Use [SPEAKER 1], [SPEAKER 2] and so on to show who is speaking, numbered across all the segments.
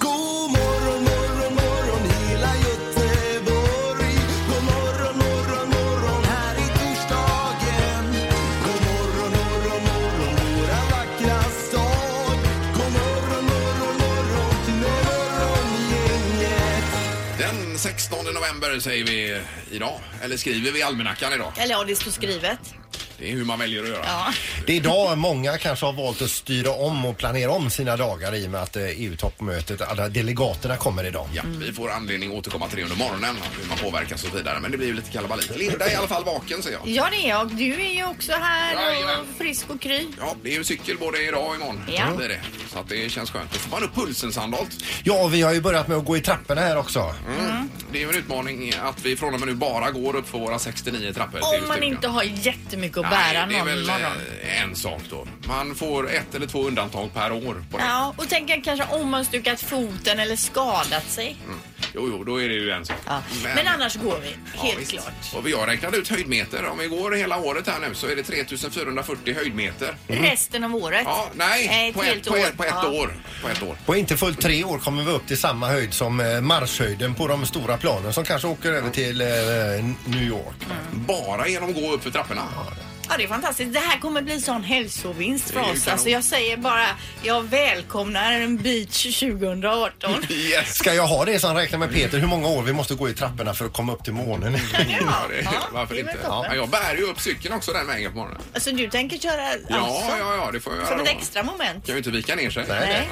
[SPEAKER 1] God morgon, morgon, morgon hela Göteborg. God morgon, morgon, morgon här i torsdagen. God morgon, morgon, morgon våra vackra stad. God morgon, morgon, morgon till morgongänget.
[SPEAKER 2] Den 16 november säger vi idag, eller skriver vi i almanackan idag.
[SPEAKER 3] Eller ja, det står skrivet.
[SPEAKER 2] Det är hur man väljer att göra.
[SPEAKER 3] Ja.
[SPEAKER 4] Det är idag många kanske har valt att styra om och planera om sina dagar i och med att eh, EU-toppmötet, alla delegaterna kommer idag.
[SPEAKER 2] Ja, vi får anledning att återkomma till det under morgonen, hur man påverkas och så vidare. Men det blir ju lite kalabalik. Linda är i alla fall vaken säger jag.
[SPEAKER 3] Ja, det är jag. Du är ju också här och
[SPEAKER 2] Jajamän.
[SPEAKER 3] frisk och kry.
[SPEAKER 2] Ja, det är ju cykel både idag och imorgon.
[SPEAKER 3] Ja.
[SPEAKER 2] Det är det. Så att det känns skönt. Då får man upp pulsen Sandholt.
[SPEAKER 4] Ja, och vi har ju börjat med att gå i trapporna här också.
[SPEAKER 2] Det är ju en utmaning att vi från och med nu bara går upp för våra 69 trappor
[SPEAKER 3] Om man
[SPEAKER 2] stugan.
[SPEAKER 3] inte har jättemycket att
[SPEAKER 2] Nej,
[SPEAKER 3] bära
[SPEAKER 2] det är
[SPEAKER 3] någon
[SPEAKER 2] väl
[SPEAKER 3] morgon.
[SPEAKER 2] eh, en sak då. Man får ett eller två undantag per år på det.
[SPEAKER 3] Ja, och tänk att kanske om man stukat foten eller skadat sig.
[SPEAKER 2] Mm. Jo, jo, då är det ju en sak.
[SPEAKER 3] Ja. Men, annars går vi, helt
[SPEAKER 2] visst.
[SPEAKER 3] klart.
[SPEAKER 2] Och vi har räknat ut höjdmeter. Om vi går hela året här nu så är det 3440 höjdmeter.
[SPEAKER 3] Resten av året.
[SPEAKER 2] Mm. Ja, nej,
[SPEAKER 3] Nej,
[SPEAKER 2] på,
[SPEAKER 3] ett
[SPEAKER 2] ett,
[SPEAKER 3] helt
[SPEAKER 2] på, ett, på ett
[SPEAKER 3] år. Ja.
[SPEAKER 2] år. På ett år.
[SPEAKER 4] På inte fullt tre år kommer vi upp till samma höjd som eh, marschhöjden på de stora planen som kanske åker över till eh, New York.
[SPEAKER 2] Bara genom att gå upp för trapporna.
[SPEAKER 3] Ja, det är fantastiskt. Det här kommer bli sån hälsovinst
[SPEAKER 2] Det är
[SPEAKER 3] för
[SPEAKER 2] ju
[SPEAKER 3] oss.
[SPEAKER 2] kanon.
[SPEAKER 3] Alltså, jag säger bara, jag välkomnar en beach 2018.
[SPEAKER 2] Yes.
[SPEAKER 4] Ska jag ha det som räknar med Peter hur många år vi måste gå i trapporna för att komma upp till månen?
[SPEAKER 2] Ja, det,
[SPEAKER 3] Ja,
[SPEAKER 2] varför
[SPEAKER 3] det är väl
[SPEAKER 2] inte?
[SPEAKER 3] toppen.
[SPEAKER 2] Ja, jag bär ju upp cykeln också den vägen på morgonen.
[SPEAKER 3] Alltså, du tänker köra
[SPEAKER 2] Ja,
[SPEAKER 3] alltså,
[SPEAKER 2] ja, ja, det får jag
[SPEAKER 3] som
[SPEAKER 2] göra
[SPEAKER 3] ett
[SPEAKER 2] då.
[SPEAKER 3] extra moment.
[SPEAKER 2] Kan ju inte vika ner sig.
[SPEAKER 4] Nej.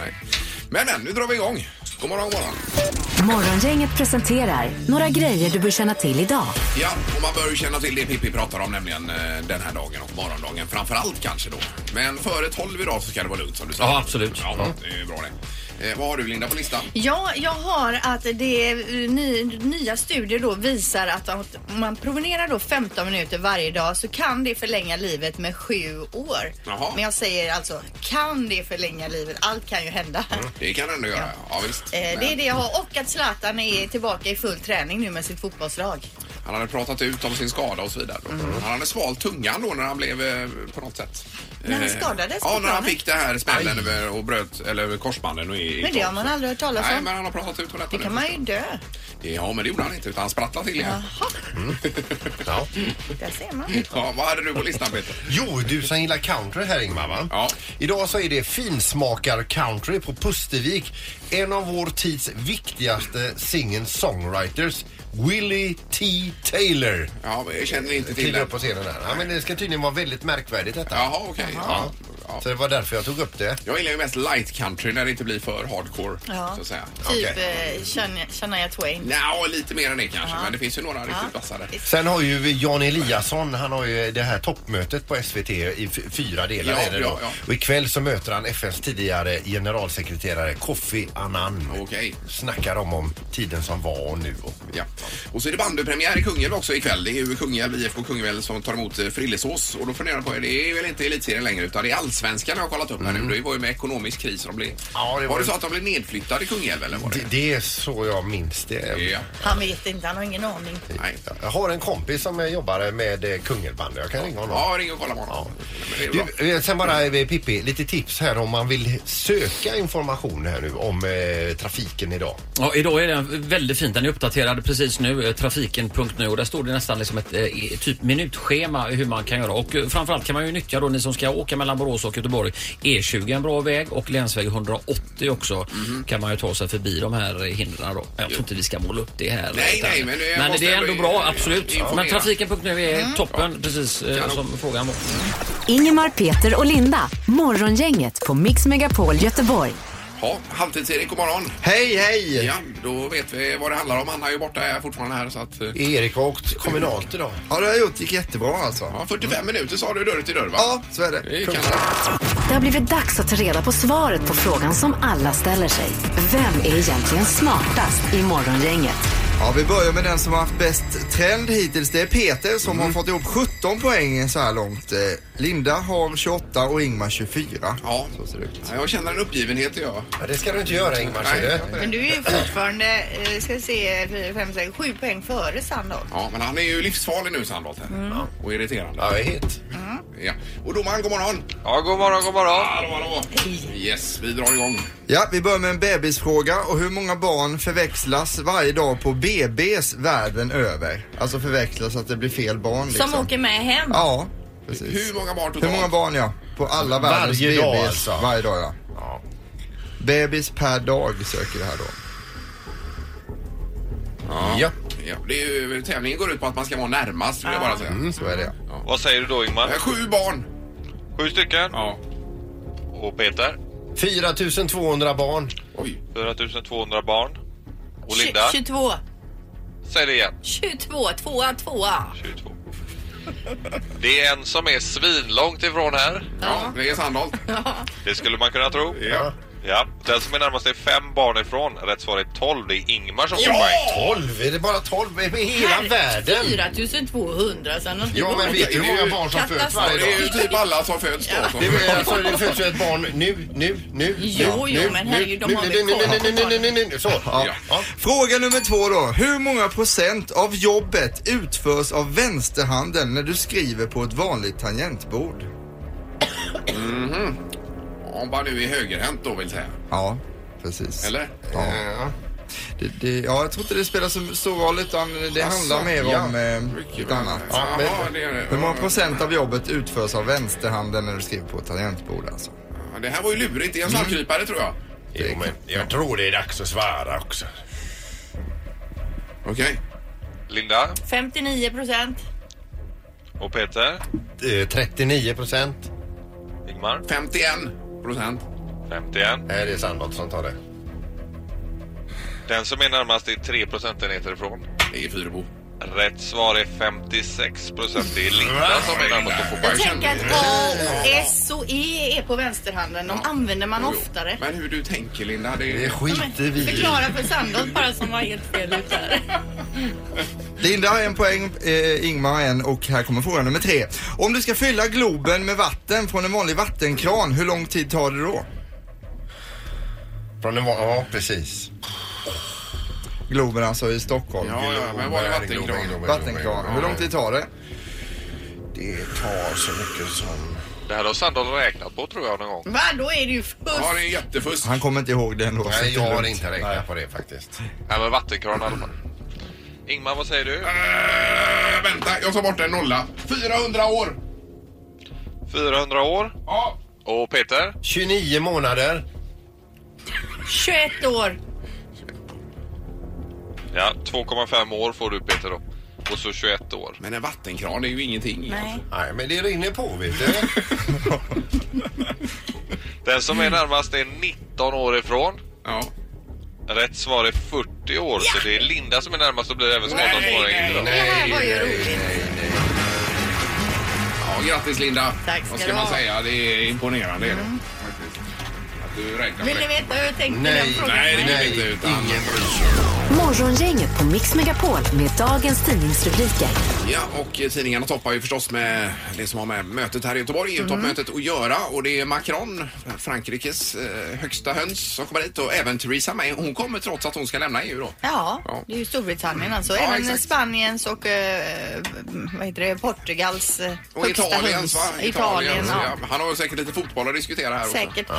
[SPEAKER 2] Men, men nu drar vi igång. God morgon, god morgon.
[SPEAKER 5] Morgongänget presenterar några grejer du bör känna till idag.
[SPEAKER 2] Ja, och man bör ju känna till det Pippi pratar om, nämligen eh, den här dagen och morgondagen framför allt kanske då. Men före 12 idag så ska det vara lugnt som du sa.
[SPEAKER 6] Ja, absolut.
[SPEAKER 2] Ja, det är bra det. Eh, vad har du Linda på listan?
[SPEAKER 3] Ja, jag har att det eh, ny, nya studier då visar att om man promenerar då 15 minuter varje dag så kan det förlänga livet med sju år.
[SPEAKER 2] Jaha.
[SPEAKER 3] Men jag säger alltså, kan det förlänga livet? Allt kan ju hända.
[SPEAKER 2] Det kan du ändå göra. Ja, visst.
[SPEAKER 3] Eh, Det är det jag har och att Zlatan är tillbaka i full träning nu med sitt fotbollslag.
[SPEAKER 2] Han hade pratat ut om sin skada och så vidare.
[SPEAKER 3] Mm.
[SPEAKER 2] Han hade svalt tungan då när han blev eh, på något sätt.
[SPEAKER 3] När han
[SPEAKER 2] Eh,
[SPEAKER 3] skadades
[SPEAKER 2] Ja,
[SPEAKER 3] på
[SPEAKER 2] när han
[SPEAKER 3] planen?
[SPEAKER 2] fick det här smällen över- och bröt eller över korsbanden. Och i, i
[SPEAKER 3] Men det har man aldrig hört talas
[SPEAKER 2] Nej,
[SPEAKER 3] om.
[SPEAKER 2] men han har pratat ut om detta
[SPEAKER 3] Det kan
[SPEAKER 2] nu.
[SPEAKER 3] man ju dö.
[SPEAKER 2] Ja, men det gjorde han inte utan han sprattlade till igen.
[SPEAKER 3] Jaha,
[SPEAKER 4] Ja.
[SPEAKER 3] där ser man.
[SPEAKER 2] Ja, vad hade du på listan Peter?
[SPEAKER 4] Jo, du som gillar country här Ingmar va?
[SPEAKER 2] Ja.
[SPEAKER 4] Idag så är det finsmakar-country på Pustervik. En av vår tids viktigaste singer-songwriters, Willie T. Taylor.
[SPEAKER 2] Ja, jag känner inte till
[SPEAKER 4] Kliver
[SPEAKER 2] det.
[SPEAKER 4] upp på scenen här. Ja, men det ska tydligen vara väldigt märkvärdigt detta.
[SPEAKER 2] Jaha, okej. Ja. Ja.
[SPEAKER 4] Så det var därför jag tog upp det.
[SPEAKER 2] Jag gillar ju mest light country när det inte blir för hardcore.
[SPEAKER 3] Ja.
[SPEAKER 2] Så att säga.
[SPEAKER 3] Typ
[SPEAKER 4] Okej.
[SPEAKER 3] eh, Shania- Shania Twain.
[SPEAKER 2] Nja, lite mer än det kanske, men det finns ju några riktigt
[SPEAKER 3] Ja.
[SPEAKER 2] vassare.
[SPEAKER 4] Sen har ju Jan Eliasson, han har ju det här toppmötet på SVT i f- fyra delar.
[SPEAKER 2] Ja,
[SPEAKER 4] är det då.
[SPEAKER 2] ja, ja.
[SPEAKER 4] Och ikväll så möter han FNs tidigare generalsekreterare Kofi Annan.
[SPEAKER 2] Okej.
[SPEAKER 4] Snackar de om tiden som var och nu. Och...
[SPEAKER 2] Ja. Och så är det bandypremiär i Kungälv också ikväll. Det är ju Kungälv IFK Kungälv som tar emot eh, Frillesås. Och då funderar jag på, det är väl inte elitserien längre utan det är allsvenskan jag har kollat upp här nu. Det var ju med ekonomisk kris de blev.
[SPEAKER 4] Ja, det var
[SPEAKER 2] var det
[SPEAKER 4] det.
[SPEAKER 2] så att de blev nedflyttade i Kungälv eller var det?
[SPEAKER 4] Det, det är så jag minns det.
[SPEAKER 2] Ja.
[SPEAKER 3] Han vet inte, han har ingen aning.
[SPEAKER 2] Nej.
[SPEAKER 4] Jag har en kompis som eh, jobbar med eh, Kungelbandy. Jag kan ringa honom.
[SPEAKER 2] Ja, ring och kolla på honom. Men det är bra.
[SPEAKER 4] Du, eh, sen bara eh, Pippi, lite tips här om man vill söka information här nu om eh, trafiken idag.
[SPEAKER 6] Ja, idag är den väldigt fin. Den är uppdaterad precis nu, eh, trafiken.nu och där står det nästan liksom ett eh, i- typ minutschema hur man kan göra. Och eh, framförallt kan man ju nyttja då ni som ska åka mellan Borås och Göteborg. E20 är en bra väg och länsväg 180 också
[SPEAKER 7] Mhm.
[SPEAKER 6] kan man ju ta sig förbi de här eh, hindren då. Jag tror inte vi ska måla upp det här.
[SPEAKER 2] Nej, nej, men jag måste
[SPEAKER 6] det är ändå
[SPEAKER 2] ändå
[SPEAKER 6] bra,
[SPEAKER 2] i-
[SPEAKER 6] absolut.
[SPEAKER 2] informera.
[SPEAKER 6] Men trafiken.nu är toppen, precis eh, som frågan var.
[SPEAKER 5] Ingemar, Peter och Linda. Morgongänget på Mix Megapol Göteborg.
[SPEAKER 2] Ja, Halvtids-Erik, god morgon.
[SPEAKER 4] Hej, hej!
[SPEAKER 2] Ja, då vet vi vad det handlar om. Han är ju borta här fortfarande här så att... eh,
[SPEAKER 4] Erik har åkt kommunalt idag.
[SPEAKER 8] Ja, det har jag gjort. Det gick jättebra alltså.
[SPEAKER 2] Ja, 45 minuter sa du dörr till dörr va?
[SPEAKER 8] Ja, så är det.
[SPEAKER 2] Det är kanon.
[SPEAKER 5] Det har blivit dags att ta reda på svaret på frågan som alla ställer sig. Vem är egentligen smartast i Morgongänget?
[SPEAKER 9] Ja, vi börjar med den som har haft bäst trend hittills. Det är Peter som har fått ihop 17 poäng så här långt. Eh, Linda har 28 och Ingmar 24.
[SPEAKER 2] Ja. Ja, Jag känner en uppgivenhet jag.
[SPEAKER 4] Ja, det ska du inte göra Ingmar.
[SPEAKER 2] Nej,
[SPEAKER 4] ser
[SPEAKER 2] jag-
[SPEAKER 4] du?
[SPEAKER 3] Men du är ju fortfarande, eh, ska se, 4, 5, 6, 7 poäng före Sandholt.
[SPEAKER 2] Ja, men han är ju livsfarlig nu Sandholt. här. Och irriterande.
[SPEAKER 4] Ja, jag är het.
[SPEAKER 2] Ja. Och domaren, god morgon!
[SPEAKER 10] Ja, god morgon, god morgon.
[SPEAKER 2] Hallå, hallå! Yes, vi drar igång.
[SPEAKER 9] Ja, vi börjar med en bebisfråga. Och hur många barn förväxlas varje dag på BBs världen över? Alltså förväxlas att det blir fel barn liksom.
[SPEAKER 3] Som åker med hem.
[SPEAKER 9] Ja, precis.
[SPEAKER 2] Hur många barn
[SPEAKER 9] Hur
[SPEAKER 2] totalt?
[SPEAKER 9] många barn ja? På alla världens
[SPEAKER 4] Varje
[SPEAKER 9] BBs.
[SPEAKER 4] dag, alltså.
[SPEAKER 9] Varje dag ja. Bebis per dag söker det här då.
[SPEAKER 4] Ja.
[SPEAKER 2] Ja, det är ju, tävlingen går ut på att man ska vara närmast, skulle jag bara säga.
[SPEAKER 9] Mm, så är det ja.
[SPEAKER 10] Vad säger du då Ingmar?
[SPEAKER 2] Eh, Sju barn!
[SPEAKER 10] Sju stycken.
[SPEAKER 2] Ja.
[SPEAKER 10] Och Peter?
[SPEAKER 4] 4200 barn.
[SPEAKER 2] Oj.
[SPEAKER 10] 4200 barn. Och
[SPEAKER 3] Tju-
[SPEAKER 10] Linda?
[SPEAKER 3] 22.
[SPEAKER 10] Säg det igen.
[SPEAKER 3] 22, tvåa, tvåa.
[SPEAKER 10] 22. Det är en som är svinlångt ifrån här.
[SPEAKER 2] Ja, det är Sandholt.
[SPEAKER 10] Det skulle man kunna tro.
[SPEAKER 2] Ja.
[SPEAKER 10] Ja. Den som är närmast är fem barn ifrån. Rätt svar är 12. Det är Ingmar som får poäng.
[SPEAKER 2] Ja!
[SPEAKER 4] 12? Är det bara 12 i hela världen?
[SPEAKER 3] 4200 sen.
[SPEAKER 4] Ja, men vet du hur många barn som föds
[SPEAKER 3] Katastrof.
[SPEAKER 2] Ja,
[SPEAKER 4] varje
[SPEAKER 2] det är
[SPEAKER 4] dag?
[SPEAKER 2] ju typ alla som föds då. som-
[SPEAKER 4] Det, är, alltså, det föds ju ett barn nu, nu, nu.
[SPEAKER 3] Jo,
[SPEAKER 4] nu,
[SPEAKER 3] jo,
[SPEAKER 4] nu,
[SPEAKER 3] men herregud, de
[SPEAKER 4] nu,
[SPEAKER 3] har
[SPEAKER 4] nu,
[SPEAKER 3] väl
[SPEAKER 4] nu,
[SPEAKER 3] koll
[SPEAKER 4] nu,
[SPEAKER 3] på
[SPEAKER 4] nu, nu, nu, nu, nu, Så.
[SPEAKER 9] Ja.
[SPEAKER 4] Ja.
[SPEAKER 9] Fråga nummer två då. Hur många procent av jobbet utförs av vänsterhanden när du skriver på ett vanligt tangentbord?
[SPEAKER 2] Om man nu är högerhänt då vill säga.
[SPEAKER 9] Ja, precis.
[SPEAKER 2] Eller?
[SPEAKER 4] Ja.
[SPEAKER 9] Det, det, ja, jag tror inte det spelar så stor roll utan det handlar mer
[SPEAKER 4] ja.
[SPEAKER 9] om eh,
[SPEAKER 2] Alltså, Mycket
[SPEAKER 9] ett
[SPEAKER 2] väl.
[SPEAKER 9] annat.
[SPEAKER 2] Jaha,
[SPEAKER 4] men-
[SPEAKER 2] det, är det.
[SPEAKER 9] Hur många procent av jobbet utförs av vänsterhanden när du skriver på ett tangentbord alltså?
[SPEAKER 2] Ja, det här var ju lurigt. Det är en
[SPEAKER 4] Mm.
[SPEAKER 2] slamkrypare tror jag.
[SPEAKER 4] Jo, men jag tror det är dags att svara också.
[SPEAKER 2] Okej.
[SPEAKER 10] Linda
[SPEAKER 3] 59 procent.
[SPEAKER 10] och Peter.
[SPEAKER 4] Eh, 39 procent.
[SPEAKER 10] Ingmar
[SPEAKER 2] 51 procent.
[SPEAKER 10] 51.
[SPEAKER 4] Nej, det är Sandholt som tar det.
[SPEAKER 10] Den som är närmast är 3 procentenheter ifrån.
[SPEAKER 2] Det är Fyrebo.
[SPEAKER 10] Rätt svar är 56 procent. Det är Linda som är närmast att få
[SPEAKER 3] Jag
[SPEAKER 10] poäng.
[SPEAKER 3] tänker att A, S och E är på vänsterhanden. De använder man
[SPEAKER 2] Jo, jo.
[SPEAKER 3] oftare.
[SPEAKER 2] Men hur du tänker Linda, det
[SPEAKER 4] Det
[SPEAKER 2] är...
[SPEAKER 4] skiter vi i.
[SPEAKER 3] Förklara för Sandholt bara som var helt fel ut där.
[SPEAKER 9] Linda har en poäng, eh, Ingmar har en och här kommer fråga nummer tre. Om du ska fylla Globen med vatten från en vanlig vattenkran, hur lång tid tar det då?
[SPEAKER 4] Från den var... Ja, precis.
[SPEAKER 9] Globen alltså i Stockholm.
[SPEAKER 2] Ja, ja, men var det vattenkran?
[SPEAKER 9] Vattenkran. Hur lång tid tar det?
[SPEAKER 4] Det tar så mycket som...
[SPEAKER 10] Det här har Sandholt räknat på tror jag någon gång.
[SPEAKER 3] Va, då är det ju fusk.
[SPEAKER 2] Ja, det är jättefusk.
[SPEAKER 9] Han kommer inte ihåg det ändå. så
[SPEAKER 4] Nej,
[SPEAKER 9] det är
[SPEAKER 4] jag har
[SPEAKER 9] lugnt.
[SPEAKER 4] inte räknat på det faktiskt.
[SPEAKER 10] Eller vattenkran i alla fall. Ingmar, vad säger du?
[SPEAKER 2] Äh, vänta, jag tar bort en nolla. 400 år!
[SPEAKER 10] 400 år.
[SPEAKER 2] Ja.
[SPEAKER 10] Och Peter?
[SPEAKER 4] 29 månader.
[SPEAKER 3] 21 år.
[SPEAKER 10] Ja, 2,5 år får du Peter då. Och så 21 år.
[SPEAKER 2] Men en vattenkran är ju ingenting.
[SPEAKER 3] Nej.
[SPEAKER 4] Nej, men det rinner på, vet du.
[SPEAKER 10] Den som är närmast är 19 år ifrån.
[SPEAKER 2] Ja.
[SPEAKER 10] Rätt svar är 40 år. Så det är Linda som är närmast och blir även smartast på poäng.
[SPEAKER 3] Det här var ju roligt.
[SPEAKER 2] ja, grattis Linda.
[SPEAKER 3] Tack ska
[SPEAKER 2] Vad
[SPEAKER 3] du
[SPEAKER 2] ska man
[SPEAKER 3] ha. Mm.
[SPEAKER 2] säga? Det är imponerande. är det. Faktiskt. Att du räknar
[SPEAKER 3] Vill
[SPEAKER 2] med
[SPEAKER 3] ni
[SPEAKER 2] det.
[SPEAKER 3] veta hur jag tänkte i den
[SPEAKER 4] Nej,
[SPEAKER 3] frågan?
[SPEAKER 2] Nej, det vill vi
[SPEAKER 4] nej,
[SPEAKER 2] inte. Utan...
[SPEAKER 4] ingen bryr sig.
[SPEAKER 5] Morgongänget på Mix Megapol med dagens tidningsrubriker.
[SPEAKER 2] Ja, och eh, tidningarna toppar ju förstås med det som har med mötet här i Göteborg,
[SPEAKER 3] Mm.
[SPEAKER 2] EU-toppmötet att göra. Och det är Macron, Frankrikes eh, högsta höns, som kommer hit. Och även Theresa May, hon kommer trots att hon ska lämna EU då.
[SPEAKER 3] Ja,
[SPEAKER 2] Ja.
[SPEAKER 3] det är ju Storbritannien alltså.
[SPEAKER 2] Ja,
[SPEAKER 3] Även
[SPEAKER 2] exakt.
[SPEAKER 3] Spaniens och eh, vad heter det, Portugals eh,
[SPEAKER 2] Och
[SPEAKER 3] högsta
[SPEAKER 2] Italiens
[SPEAKER 3] höns.
[SPEAKER 2] va?
[SPEAKER 3] Italien,
[SPEAKER 2] Italiens,
[SPEAKER 3] ja.
[SPEAKER 2] ja. Han har ju säkert lite fotboll att diskutera här också.
[SPEAKER 3] Säkert.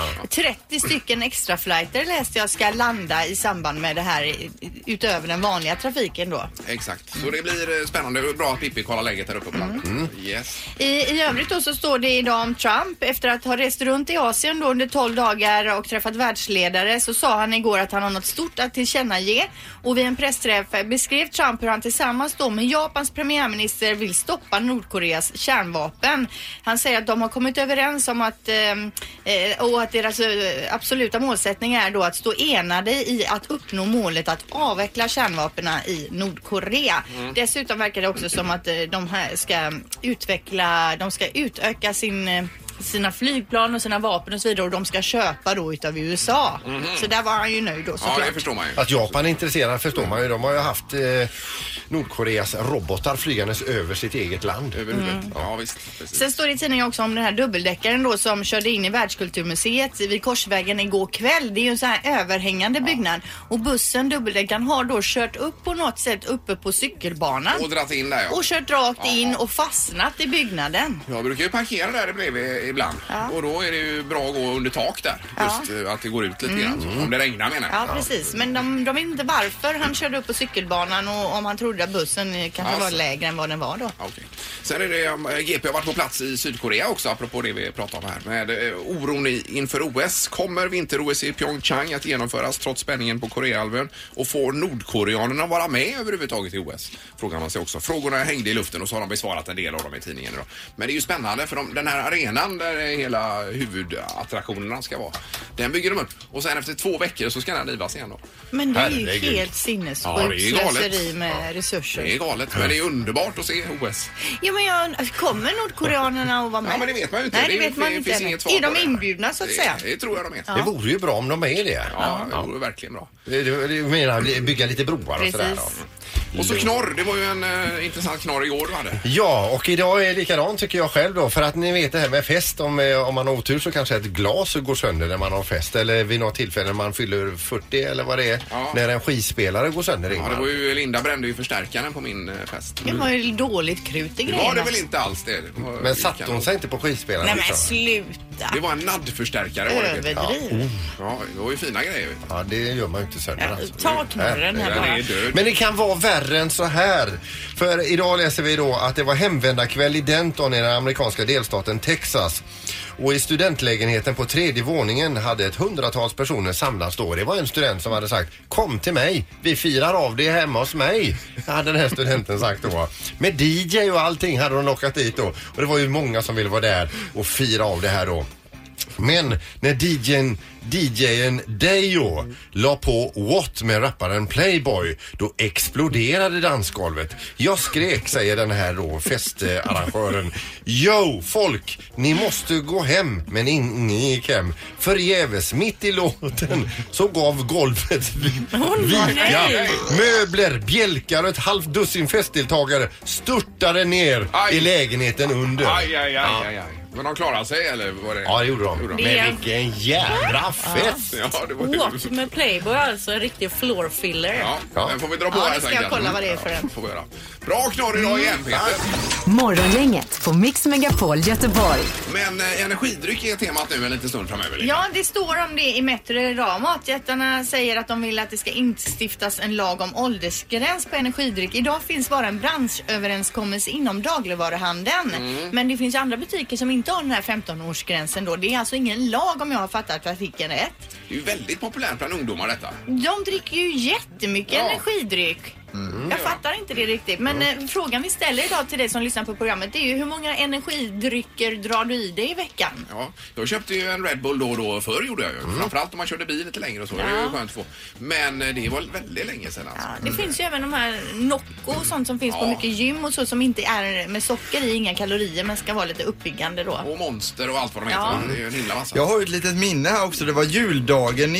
[SPEAKER 3] 30 stycken extra flighter läste jag ska landa i samband med det här i- i- utöver den vanliga trafiken då.
[SPEAKER 2] Exakt. Så det blir eh, spännande och bra att Pippi kollar läget här uppe på landet.
[SPEAKER 4] Mm.
[SPEAKER 2] Mm. Yes.
[SPEAKER 3] I, I övrigt då så står det idag om Trump. Efter att ha rest runt i Asien då under 12 dagar och träffat världsledare så sa han igår att han har något stort att tillkännage. Och vid en pressträff beskrev Trump hur han tillsammans då med Japans premiärminister vill stoppa Nordkoreas kärnvapen. Han säger att de har kommit överens om att ehm, eh, och att deras eh, absoluta målsättning är då att stå enade i att uppnå målet att avveckla kärnvapnen i Nordkorea. Dessutom verkar det också som att eh, de här ska utveckla, de ska utöka sin eh, sina flygplan och sina vapen och så vidare och de ska köpa då utav USA.
[SPEAKER 4] Mhm.
[SPEAKER 3] Så där var han ju nöjd då såklart.
[SPEAKER 4] Att Japan är intresserade förstår man ju. De har ju haft eh, Nordkoreas robotar flygandes över sitt eget land.
[SPEAKER 3] Mm.
[SPEAKER 2] Ja, visst.
[SPEAKER 3] Sen står det i tidningen också om den här dubbeldäckaren då som körde in i Världskulturmuseet vid Korsvägen igår kväll. Det är ju en sån här överhängande byggnad och bussen, dubbeldäckaren, har då kört upp på något sätt uppe på cykelbanan.
[SPEAKER 2] Och dratt in där, ja.
[SPEAKER 3] Och kört rakt in och fastnat i byggnaden.
[SPEAKER 2] Jag brukar ju parkera där bredvid ibland och då är det ju bra att gå under tak där. Just eh, att det går ut lite
[SPEAKER 3] Mm.
[SPEAKER 2] grann. så Om det regnar menar jag.
[SPEAKER 3] Ja, precis. Men de, de vet inte varför han körde upp på cykelbanan och om han trodde att bussen eh, kanske var
[SPEAKER 2] Alltså.
[SPEAKER 3] lägre än vad den var då.
[SPEAKER 2] Okej. Sen är det, eh, GP har varit på plats i Sydkorea också, apropå det vi pratade om här. Med eh, oron i, inför OS. Kommer vinter-OS i Pyeongchang att genomföras trots spänningen på Koreahalvön? Och får nordkoreanerna vara med överhuvudtaget i OS? Frågar man sig också. Frågorna hängde i luften och så har de besvarat en del av dem i tidningen idag. Men det är ju spännande för de, den här arenan där hela huvudattraktionerna ska vara. Den bygger de upp och sen efter två veckor så ska den rivas igen då.
[SPEAKER 3] Men det är ju
[SPEAKER 2] Herregud.
[SPEAKER 3] helt sinnessjukt
[SPEAKER 2] Ja, det är ju galet.
[SPEAKER 3] slöseri med resurser.
[SPEAKER 2] Det är galet men det är underbart att se OS.
[SPEAKER 3] Ja, men jag, kommer nordkoreanerna att vara med?
[SPEAKER 2] Ja, men det vet man ju inte.
[SPEAKER 3] Nej, det,
[SPEAKER 2] Det
[SPEAKER 3] vet man
[SPEAKER 2] finns
[SPEAKER 3] inte.
[SPEAKER 2] inget svar
[SPEAKER 3] är
[SPEAKER 2] på
[SPEAKER 3] de
[SPEAKER 2] det.
[SPEAKER 3] inbjudna så att
[SPEAKER 2] Det-
[SPEAKER 3] säga?
[SPEAKER 2] det tror jag de är.
[SPEAKER 3] Ja.
[SPEAKER 4] Det vore ju bra om de är det.
[SPEAKER 2] Ja, det vore verkligen bra.
[SPEAKER 4] Det, det, det menar, jag, bygga lite broar och sådär.
[SPEAKER 2] Precis.
[SPEAKER 4] ja.
[SPEAKER 2] Och så knorr, det var ju en eh, intressant knorr igår du hade.
[SPEAKER 4] Ja, och idag är likadant tycker jag själv då. För att ni vet det här med fest. Om, eh, om man har otur så kanske ett glas går sönder när man har fest. Eller vid något tillfälle när man fyller 40 eller vad det är.
[SPEAKER 2] Ja.
[SPEAKER 4] När en skispelare går sönder
[SPEAKER 2] Ja,
[SPEAKER 4] Ingmar.
[SPEAKER 2] det var ju, Linda brände ju förstärkaren på min eh, fest.
[SPEAKER 3] Det var ju dåligt krut i
[SPEAKER 2] Det
[SPEAKER 3] grejerna.
[SPEAKER 2] var det väl inte alls det. det var,
[SPEAKER 4] Men satte hon sig inte på skispelaren?
[SPEAKER 3] Nej men
[SPEAKER 4] liksom?
[SPEAKER 3] sluta.
[SPEAKER 2] Det var en naddförstärkare. var det, Peter.
[SPEAKER 3] Överdriv.
[SPEAKER 2] Ja. Oh, Ja, det var ju fina grejer. vet
[SPEAKER 4] Ja, det gör man ju inte sönder. alltså.
[SPEAKER 3] Ta knorren här
[SPEAKER 2] Den är
[SPEAKER 3] bara.
[SPEAKER 2] död.
[SPEAKER 4] Men det kan vara värre än så här. För idag läser vi då att det var hemvändarkväll i Denton i den amerikanska delstaten Texas. Och i studentlägenheten på tredje våningen hade ett hundratals personer samlats då. Det var en student som hade sagt Kom till mig, vi firar av det hemma hos mig. Hade den här studenten sagt då. Med DJ och allting hade de lockat dit då. Och det var ju många som ville vara där och fira av det här då. Men när DJn, DJn Dejo la på What med rapparen Playboy då exploderade dansgolvet. Jag skrek, säger den här då festarrangören. Yo folk, ni måste gå hem. Men in- ni gick hem. Förgäves, mitt i låten så gav golvet vi- vika.
[SPEAKER 1] nej.
[SPEAKER 4] Möbler, bjälkar och ett halvt dussin festdeltagare störtade ner i lägenheten under.
[SPEAKER 2] Aj, aj, aj, aj, aj. Men de klarade sig eller? Var det...
[SPEAKER 4] Ja, det gjorde de.
[SPEAKER 11] Det är-
[SPEAKER 4] Men vilken jävla fest!
[SPEAKER 2] Ja, det var ju...
[SPEAKER 11] What med Playboy alltså en riktig floor filler.
[SPEAKER 2] Ja, den får vi dra på
[SPEAKER 11] Ja,
[SPEAKER 2] här
[SPEAKER 11] det ska
[SPEAKER 2] sen,
[SPEAKER 11] jag
[SPEAKER 2] kanske.
[SPEAKER 11] kolla vad det är för
[SPEAKER 2] Ja,
[SPEAKER 11] en.
[SPEAKER 2] får vi göra. Bra knorr idag igen
[SPEAKER 4] Mm,
[SPEAKER 2] Peter.
[SPEAKER 5] Morgongänget på Mix Megapol Göteborg.
[SPEAKER 2] Men eh, energidryck är temat nu en liten stund framöver. Linda.
[SPEAKER 3] Ja, det står om det i Metro idag. Matjättarna säger att de vill att det ska instiftas en lag om åldersgräns på energidryck. Idag finns bara en branschöverenskommelse inom dagligvaruhandeln. Men det finns ju andra butiker som inte har den här 15-årsgränsen då. Det är alltså ingen lag om jag har fattat artikeln rätt.
[SPEAKER 2] Det är ju väldigt populärt bland ungdomar detta.
[SPEAKER 3] De dricker ju jättemycket
[SPEAKER 2] Ja.
[SPEAKER 3] energidryck. Jag fattar inte det riktigt. Men eh, frågan vi ställer idag till dig som lyssnar på programmet det är ju hur många energidrycker drar du i dig i veckan?
[SPEAKER 2] Ja, jag köpte ju en Red Bull då och då förr gjorde jag ju. Framförallt om man körde bil lite längre och så. Det är ju skönt att få. Men eh, det var väldigt länge sedan alltså.
[SPEAKER 3] Det finns ju även de här Nocco och sånt som finns på
[SPEAKER 2] Ja.
[SPEAKER 3] mycket gym och så som inte är med socker i, inga kalorier men ska vara lite uppbyggande då.
[SPEAKER 2] Och monster och allt vad de heter.
[SPEAKER 3] Ja.
[SPEAKER 2] va? Det är ju en himla massa.
[SPEAKER 9] Jag har ju ett litet minne här också. Det var juldagen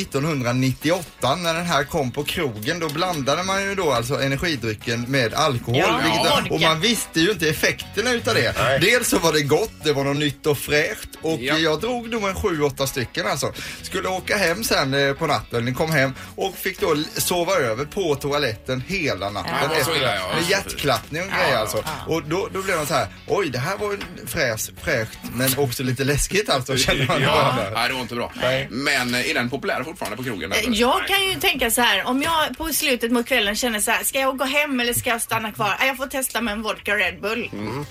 [SPEAKER 9] 1998 när den här kom på krogen. Då blandade man ju då alltså energidrycken med alkohol.
[SPEAKER 1] Ja,
[SPEAKER 9] vilket,
[SPEAKER 1] vodka.
[SPEAKER 9] och man visste ju inte effekterna utav det.
[SPEAKER 1] Nej.
[SPEAKER 9] Dels så var det gott, det var något nytt och fräscht. Och jag drog nog en 7-8 stycken alltså. Skulle åka hem sen eh, på natten, kom hem och fick då l- sova över på toaletten hela natten.
[SPEAKER 2] Ja, det var så
[SPEAKER 9] efter-
[SPEAKER 2] illa, ja.
[SPEAKER 9] Med hjärtklappning och grejer alltså. Och då, då blev man så här, oj det här var en fräs, fräscht men också lite läskigt alltså kände man.
[SPEAKER 2] ja.
[SPEAKER 9] bara.
[SPEAKER 2] Nej, det var inte bra. Men eh, är den populär fortfarande på krogen?
[SPEAKER 3] Eh,
[SPEAKER 2] eller?
[SPEAKER 3] Jag kan ju tänka så här, om jag på slutet mot kvällen känner så här, ska jag gå hem eller ska jag stanna kvar? Eh, Jag får testa med en vodka Red Bull.
[SPEAKER 2] Mm.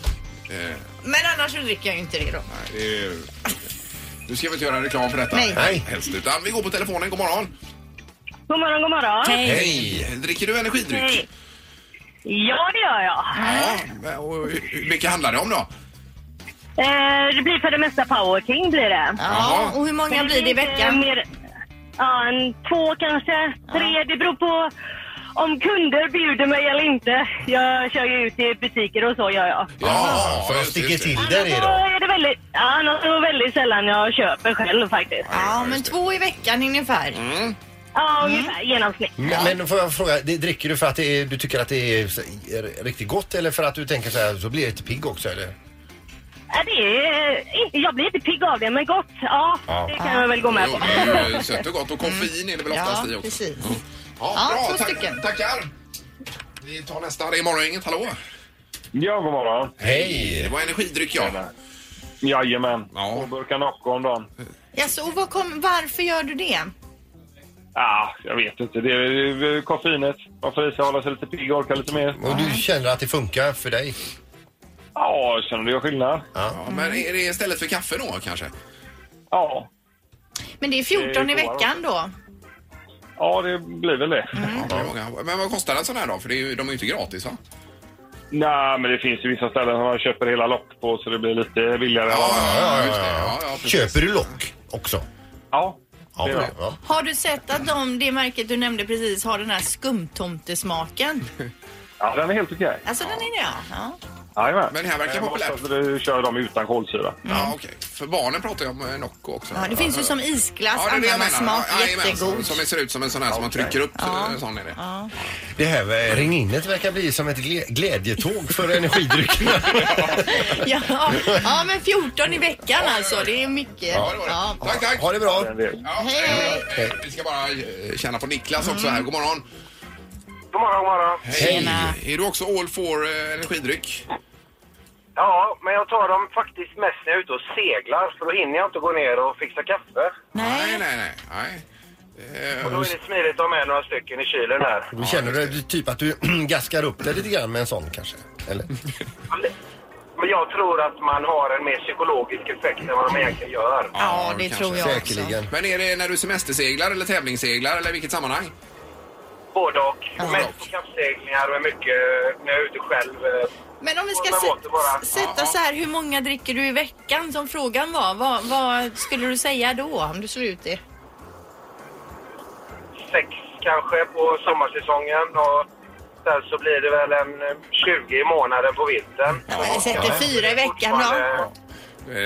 [SPEAKER 2] Eh,
[SPEAKER 3] Men annars så dricker jag ju inte det då.
[SPEAKER 2] det är ju- Nu ska vi inte göra reklam för detta.
[SPEAKER 3] Nej. Nej.
[SPEAKER 2] Helst, utan vi går på telefonen. God morgon.
[SPEAKER 12] God morgon, god morgon.
[SPEAKER 2] Hej. Dricker du energidryck?
[SPEAKER 12] Hej. Ja, det gör jag.
[SPEAKER 2] Ja, och hur- hur mycket handlar det om då?
[SPEAKER 12] Eh, det blir för det mesta power king blir det. Eh,
[SPEAKER 2] Jaha.
[SPEAKER 3] och hur många
[SPEAKER 12] Men
[SPEAKER 3] blir det i
[SPEAKER 12] inte
[SPEAKER 3] veckan?
[SPEAKER 12] Mer, ja, en två kanske, tre. Det beror på om kunder bjuder mig eller inte. Jag kör ju ut i butiker och så gör jag.
[SPEAKER 4] Ja, för de sticker till där
[SPEAKER 12] Då
[SPEAKER 4] idag.
[SPEAKER 12] är det väldigt, ja, annars är det väldigt sällan jag köper själv faktiskt.
[SPEAKER 3] Ja, Mm. men två i veckan ungefär.
[SPEAKER 12] Ja, ungefär genomsnitt.
[SPEAKER 4] Men, men då får jag fråga, det dricker du för att det är, du tycker att det är, så- är riktigt gott eller för att du tänker så här, så blir jag lite pigg också eller?
[SPEAKER 12] Ja, det är, jag blir inte pigg av det, men gott. Ja,
[SPEAKER 4] Ja.
[SPEAKER 12] det kan jag väl gå med
[SPEAKER 2] Jo,
[SPEAKER 12] på.
[SPEAKER 2] det är ju sött och gott. Och koffein är det väl oftast i också?
[SPEAKER 3] Mm. precis.
[SPEAKER 2] Ja,
[SPEAKER 3] Ja,
[SPEAKER 2] bra.
[SPEAKER 3] två
[SPEAKER 2] Tack, tackar. Vi tar nästa. Det är Morgongänget. Hallå?
[SPEAKER 13] Ja, god morgon.
[SPEAKER 2] Hej! Det var energidryck, ja.
[SPEAKER 13] Jajamän. Två burkar Nocco om dagen.
[SPEAKER 3] Jaså, och vad kom, varför gör du det?
[SPEAKER 13] Ah, jag vet inte. Det är väl koffeinet. Man får i sig hålla sig lite pigg och orka lite mer.
[SPEAKER 4] Och du känner att det funkar för dig?
[SPEAKER 13] Ja, jag känner du gör skillnad?
[SPEAKER 2] Ja, men är det istället för kaffe då, kanske?
[SPEAKER 13] Ja.
[SPEAKER 3] Men det är 14 i
[SPEAKER 13] Det är godare
[SPEAKER 3] veckan då.
[SPEAKER 13] Ja, det blir väl det.
[SPEAKER 14] Mm.
[SPEAKER 2] Ja, det är många. Men vad kostar en sån här då? För det är ju, de är ju inte gratis, va?
[SPEAKER 13] Nej, men det finns ju vissa ställen som man köper hela lock på så det blir lite billigare.
[SPEAKER 4] Köper du lock också?
[SPEAKER 13] Ja.
[SPEAKER 4] Ja,
[SPEAKER 13] det gör jag.
[SPEAKER 4] ja.
[SPEAKER 3] Har du sett att de, det märket du nämnde precis har den här skumtomtesmaken?
[SPEAKER 13] ja, den är helt okej.
[SPEAKER 3] Alltså den är det ja. ja.
[SPEAKER 13] Jajamän.
[SPEAKER 2] Men det här verkar
[SPEAKER 13] jag hoppas
[SPEAKER 2] populärt.
[SPEAKER 13] att Du kör dem utan kolsyra.
[SPEAKER 2] Ja, okej. För barnen pratar jag om eh, Nocco också.
[SPEAKER 3] ja det finns ju som isglass,
[SPEAKER 2] Ja, det är det jag menar.
[SPEAKER 3] ananassmak,
[SPEAKER 2] Ja, jajamän,
[SPEAKER 3] jättegod.
[SPEAKER 2] Som, som ser ut som en sån här som man trycker upp.
[SPEAKER 3] Ja.
[SPEAKER 2] eh, Sån är det.
[SPEAKER 3] Ja.
[SPEAKER 4] Det här eh, ringinnet verkar bli som ett gle- glädjetåg för energidryckerna.
[SPEAKER 3] Ja, ja, men 14 i veckan alltså. Det är mycket. Ja.
[SPEAKER 2] Tack, tack!
[SPEAKER 4] Ha det bra.
[SPEAKER 3] Hej, hej. Mm.
[SPEAKER 2] Eh, Vi ska bara eh, känna på Niklas också här. God morgon!
[SPEAKER 15] God morgon, god morgon.
[SPEAKER 2] Hej! Är du också all for eh, energidryck?
[SPEAKER 15] Ja, men jag tar dem faktiskt mest när jag är ute och seglar för då hinner jag inte gå ner och fixa kaffe.
[SPEAKER 2] Nej, nej, nej. nej.
[SPEAKER 15] Och då är det smidigt att ha med några stycken i kylen här.
[SPEAKER 4] Då känner du typ att du gaskar upp dig lite grann med en sån kanske? Eller?
[SPEAKER 15] Men jag tror att man har en mer psykologisk effekt än vad man egentligen gör.
[SPEAKER 3] Ja, det
[SPEAKER 2] kanske.
[SPEAKER 3] tror jag också.
[SPEAKER 2] Eh, Men är det när du semesterseglar eller tävlingsseglar eller i vilket sammanhang? Eh,
[SPEAKER 15] Både och. Mest på kappseglingar och mycket när jag är ute själv. eh,
[SPEAKER 3] Men om vi ska
[SPEAKER 15] Man måste bara-
[SPEAKER 3] s- sätta så här, hur många dricker du i veckan som frågan var. Vad, vad skulle du säga då om du slår ut det?
[SPEAKER 15] Sex kanske på sommarsäsongen och sen så blir det väl en eh, 20 i månaden på vintern.
[SPEAKER 3] Jag sätter fyra i veckan då.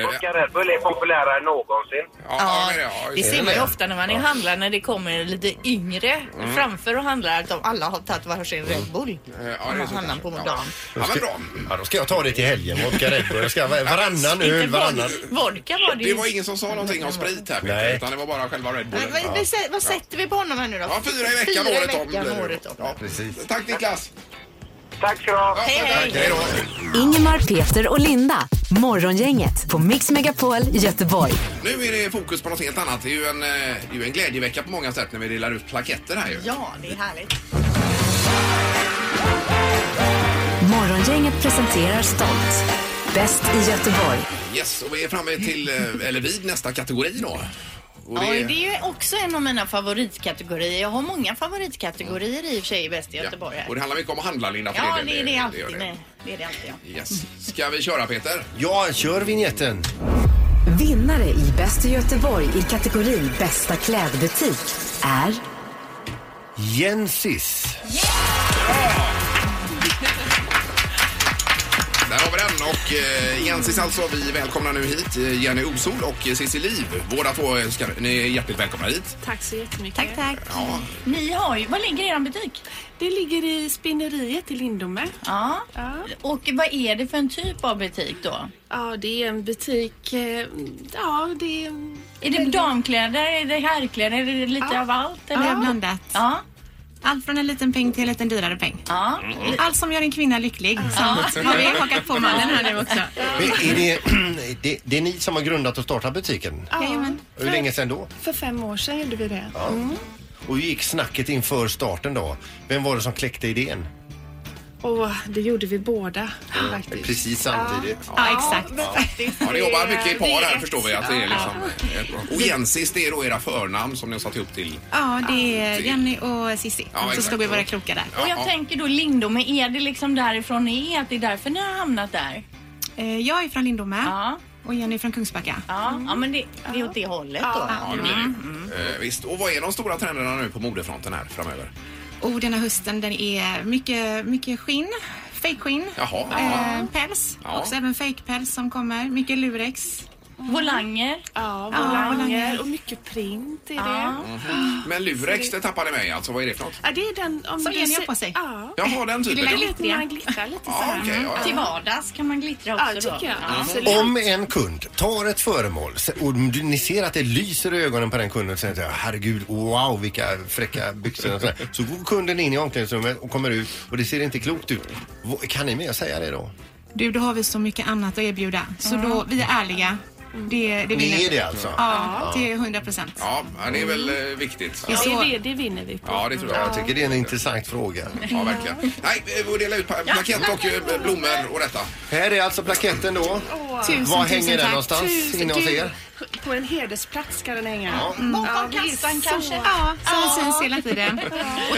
[SPEAKER 15] Vodka Red Bull är populärare än någonsin.
[SPEAKER 3] Ja, det ser
[SPEAKER 2] Eh,
[SPEAKER 3] man ju ofta när man är handlare när det kommer lite yngre
[SPEAKER 15] Mm.
[SPEAKER 3] framför och handlar att de alla har tagit varsin Red
[SPEAKER 2] Mm.
[SPEAKER 3] Bull. Om man handlar på dagen.
[SPEAKER 4] Ja, men bra. Ja, då ska jag ta det till helgen. Vodka Red Bull. Jag ska va- varannan öl, varannan...
[SPEAKER 3] Vodka var det ju.
[SPEAKER 2] Det var ingen som sa någonting om sprit här Peter,
[SPEAKER 4] Nej.
[SPEAKER 2] utan det var bara själva Red
[SPEAKER 3] Men
[SPEAKER 2] Bullen.
[SPEAKER 3] vad, vad sä- vad sätter vi på honom här nu då?
[SPEAKER 2] Ja, fyra i veckan,
[SPEAKER 3] fyra
[SPEAKER 2] året om
[SPEAKER 3] i veckan,
[SPEAKER 2] blir det.
[SPEAKER 3] året om.
[SPEAKER 2] Ja,
[SPEAKER 4] precis.
[SPEAKER 2] Tack Niklas!
[SPEAKER 15] Tack ska du ha.
[SPEAKER 2] Hej, hej. då.
[SPEAKER 5] Ingemar, Peter och Linda. Morgongänget på Mix Megapol Göteborg.
[SPEAKER 2] Nu är det fokus på något helt annat. Det är ju en, eh, det är ju en glädjevecka på många sätt när vi delar ut plaketter här ju.
[SPEAKER 3] Ja, det är härligt.
[SPEAKER 5] Morgongänget presenterar stolt Bäst i Göteborg.
[SPEAKER 2] Yes, och vi är framme till, eh, eller vid nästa kategori då. Och
[SPEAKER 3] Ja, det är ju också en av mina favoritkategorier. Jag har många favoritkategorier i och för sig i Bäst i Göteborg. här.
[SPEAKER 2] och det handlar mycket om att handla Linda. för
[SPEAKER 3] Ja, det är
[SPEAKER 2] det
[SPEAKER 3] det
[SPEAKER 2] gör
[SPEAKER 3] alltid
[SPEAKER 2] det.
[SPEAKER 3] med. Det är det alltid, ja.
[SPEAKER 2] Yes. Ska vi köra Peter?
[SPEAKER 4] Ja, kör vignetten.
[SPEAKER 5] Vinnare i Bäst i Göteborg i kategorin Bästa klädbutik är
[SPEAKER 4] Jensis.
[SPEAKER 2] Där har vi den och eh, Jensis alltså. Vi välkomnar nu hit eh, Jenny Osol och eh, Cissi Liv. Båda två eh, ska, ni är hjärtligt välkomna hit.
[SPEAKER 11] Tack så jättemycket.
[SPEAKER 3] Tack, tack.
[SPEAKER 2] Ja.
[SPEAKER 3] Ni har ju, var ligger er butik?
[SPEAKER 11] Det ligger i spinneriet i Lindome.
[SPEAKER 3] Ja. Och vad är det för en typ av butik då?
[SPEAKER 11] Ja, det är en butik. eh, Ja, det är...
[SPEAKER 3] Är det damkläder, är det herrkläder, är det lite
[SPEAKER 11] Ja.
[SPEAKER 3] av allt?
[SPEAKER 11] Ja.
[SPEAKER 3] Ja.
[SPEAKER 14] Allt från en liten peng till en liten dyrare peng.
[SPEAKER 3] Ja.
[SPEAKER 14] Allt som gör en kvinna lycklig. Så
[SPEAKER 3] Ja.
[SPEAKER 14] har vi hakat på mannen här nu också.
[SPEAKER 4] Är är det, det, det är ni som har grundat och startat butiken?
[SPEAKER 11] Jajamän.
[SPEAKER 4] Hur länge sedan då?
[SPEAKER 11] För fem år sedan gjorde vi det.
[SPEAKER 4] Ja.
[SPEAKER 11] Mm.
[SPEAKER 4] Och hur gick snacket inför starten då? Vem var det som kläckte idén?
[SPEAKER 11] Och det gjorde vi båda faktiskt.
[SPEAKER 4] Precis samtidigt.
[SPEAKER 2] Ja, ni jobbar mycket i par
[SPEAKER 11] Det är
[SPEAKER 2] här
[SPEAKER 11] ett-
[SPEAKER 2] förstår vi. Att det är liksom, eh, och Jensis, det är då era förnamn som ni har satt ihop till.
[SPEAKER 14] Ja, det är Jenny och Sissi.
[SPEAKER 2] Ja,
[SPEAKER 14] så
[SPEAKER 2] exakt.
[SPEAKER 14] slog vi våra krokar där.
[SPEAKER 3] Och jag tänker då Lindome, är det liksom därifrån ni är? Att det är därför ni har hamnat där?
[SPEAKER 14] Eh, Jag är från Lindome
[SPEAKER 3] Ja.
[SPEAKER 14] och Jenny är från Kungsbacka.
[SPEAKER 3] Ja, ja men det, det är åt det hållet då.
[SPEAKER 14] Mm.
[SPEAKER 2] Ja, det blir det. Eh, visst. Och vad är de stora trenderna nu på modefronten här framöver?
[SPEAKER 14] Och Oh, den här hösten den är mycket, mycket skinn, fejkskinn,
[SPEAKER 2] Jaha.
[SPEAKER 14] eh, päls,
[SPEAKER 2] Ja.
[SPEAKER 14] också även fejkpäls som kommer, mycket lurex.
[SPEAKER 3] Volanger.
[SPEAKER 11] Ja,
[SPEAKER 14] Ja,
[SPEAKER 11] volanger
[SPEAKER 14] volanger.
[SPEAKER 11] och mycket print är det.
[SPEAKER 14] Ja.
[SPEAKER 2] Mhm. Men Lurex, det tappade mig alltså. Vad är det för något?
[SPEAKER 11] Ja, det är den... Om
[SPEAKER 14] Som
[SPEAKER 11] du
[SPEAKER 14] Jenny har
[SPEAKER 11] ser-
[SPEAKER 14] på sig.
[SPEAKER 11] Ja.
[SPEAKER 2] Jaha, den typen.
[SPEAKER 11] Det lite när man glittrar lite så här.
[SPEAKER 2] okej, ja, ja.
[SPEAKER 3] Till vardags kan man glittra också
[SPEAKER 11] Ja, tycker jag.
[SPEAKER 3] då.
[SPEAKER 11] Absolut.
[SPEAKER 4] Om en kund tar ett föremål se- och du- ni ser att det lyser i ögonen på den kunden och säger herregud, wow vilka fräcka byxor och sådär. Så går kunden in i omklädningsrummet och kommer ut och det ser inte klokt ut. Vad- Kan ni mer säga det då?
[SPEAKER 14] Du, då har vi så mycket annat att erbjuda. Så då, vi är ärliga. Det, det
[SPEAKER 4] Ni
[SPEAKER 14] vinner.
[SPEAKER 4] är det alltså?
[SPEAKER 14] Ja,
[SPEAKER 4] Ja.
[SPEAKER 14] till 100 procent.
[SPEAKER 2] Ja, ja, det är väl eh, viktigt.
[SPEAKER 11] Ja,
[SPEAKER 14] Så-
[SPEAKER 11] det, det, det vinner vi på.
[SPEAKER 2] Ja, det tror jag.
[SPEAKER 4] Jag tycker det är en intressant fråga.
[SPEAKER 2] Ja, verkligen. Nej, eh, och dela ut pa- plakett och eh, blommor och detta.
[SPEAKER 4] Här är alltså plaketten då.
[SPEAKER 11] Tusen,
[SPEAKER 4] Var
[SPEAKER 11] tusen
[SPEAKER 4] hänger den
[SPEAKER 11] tack.
[SPEAKER 4] någonstans
[SPEAKER 11] Tusen-
[SPEAKER 4] inne hos
[SPEAKER 11] du,
[SPEAKER 4] er?
[SPEAKER 11] På en hedersplats ska den hänga.
[SPEAKER 4] Ja.
[SPEAKER 3] Bakom
[SPEAKER 11] vi är
[SPEAKER 3] kassan
[SPEAKER 11] så-
[SPEAKER 3] kanske?
[SPEAKER 14] Ja, som syns hela tiden. Och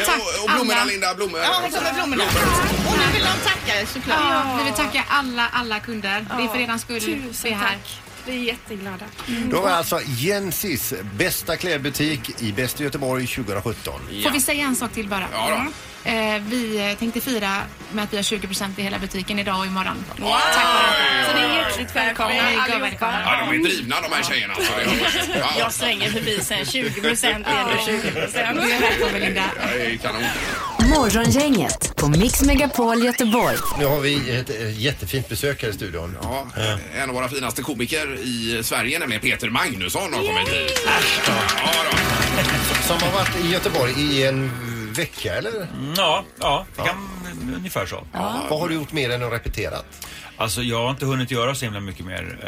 [SPEAKER 14] tack
[SPEAKER 2] Eh, Och, och blommorna,
[SPEAKER 14] alla.
[SPEAKER 2] Linda. Blommor.
[SPEAKER 3] Ja, här kommer blommorna. Och nu vill de tacka er såklart.
[SPEAKER 14] Ja, vi vill tacka alla, alla kunder. Det är för eran skull vi är
[SPEAKER 11] Tusen
[SPEAKER 14] här.
[SPEAKER 11] tack. Vi är jätteglada.
[SPEAKER 4] Då var alltså Jensis bästa klädbutik i bästa Göteborg 2017.
[SPEAKER 14] Får vi säga en sak till bara?
[SPEAKER 4] Ja då.
[SPEAKER 14] Eh, vi eh, tänkte fira med att vi har 20% i hela butiken idag och imorgon. Tack vare
[SPEAKER 11] Så ni är hjärtligt välkomna
[SPEAKER 14] Ni är gott
[SPEAKER 11] allihopa.
[SPEAKER 2] Ja, de är drivna de här tjejerna. Alltså. Det är- Ja,
[SPEAKER 3] Jag slänger förbi sen 20 procent eller 20 procent.
[SPEAKER 14] Du är välkommen Linda.
[SPEAKER 2] det är kanon.
[SPEAKER 5] Morgongänget på Mix Megapol Göteborg.
[SPEAKER 4] Nu har vi ett eh, jättefint besök här i studion.
[SPEAKER 2] Ja, en av våra finaste komiker i Sverige, nämligen Peter Magnusson, har kommit hit.
[SPEAKER 4] Som har varit i Göteborg i en vecka eller?
[SPEAKER 7] Mm, Ja, ja, det kan, ungefär så.
[SPEAKER 4] Vad har du gjort mer än att repeterat?
[SPEAKER 7] Alltså jag har inte hunnit göra så himla mycket mer.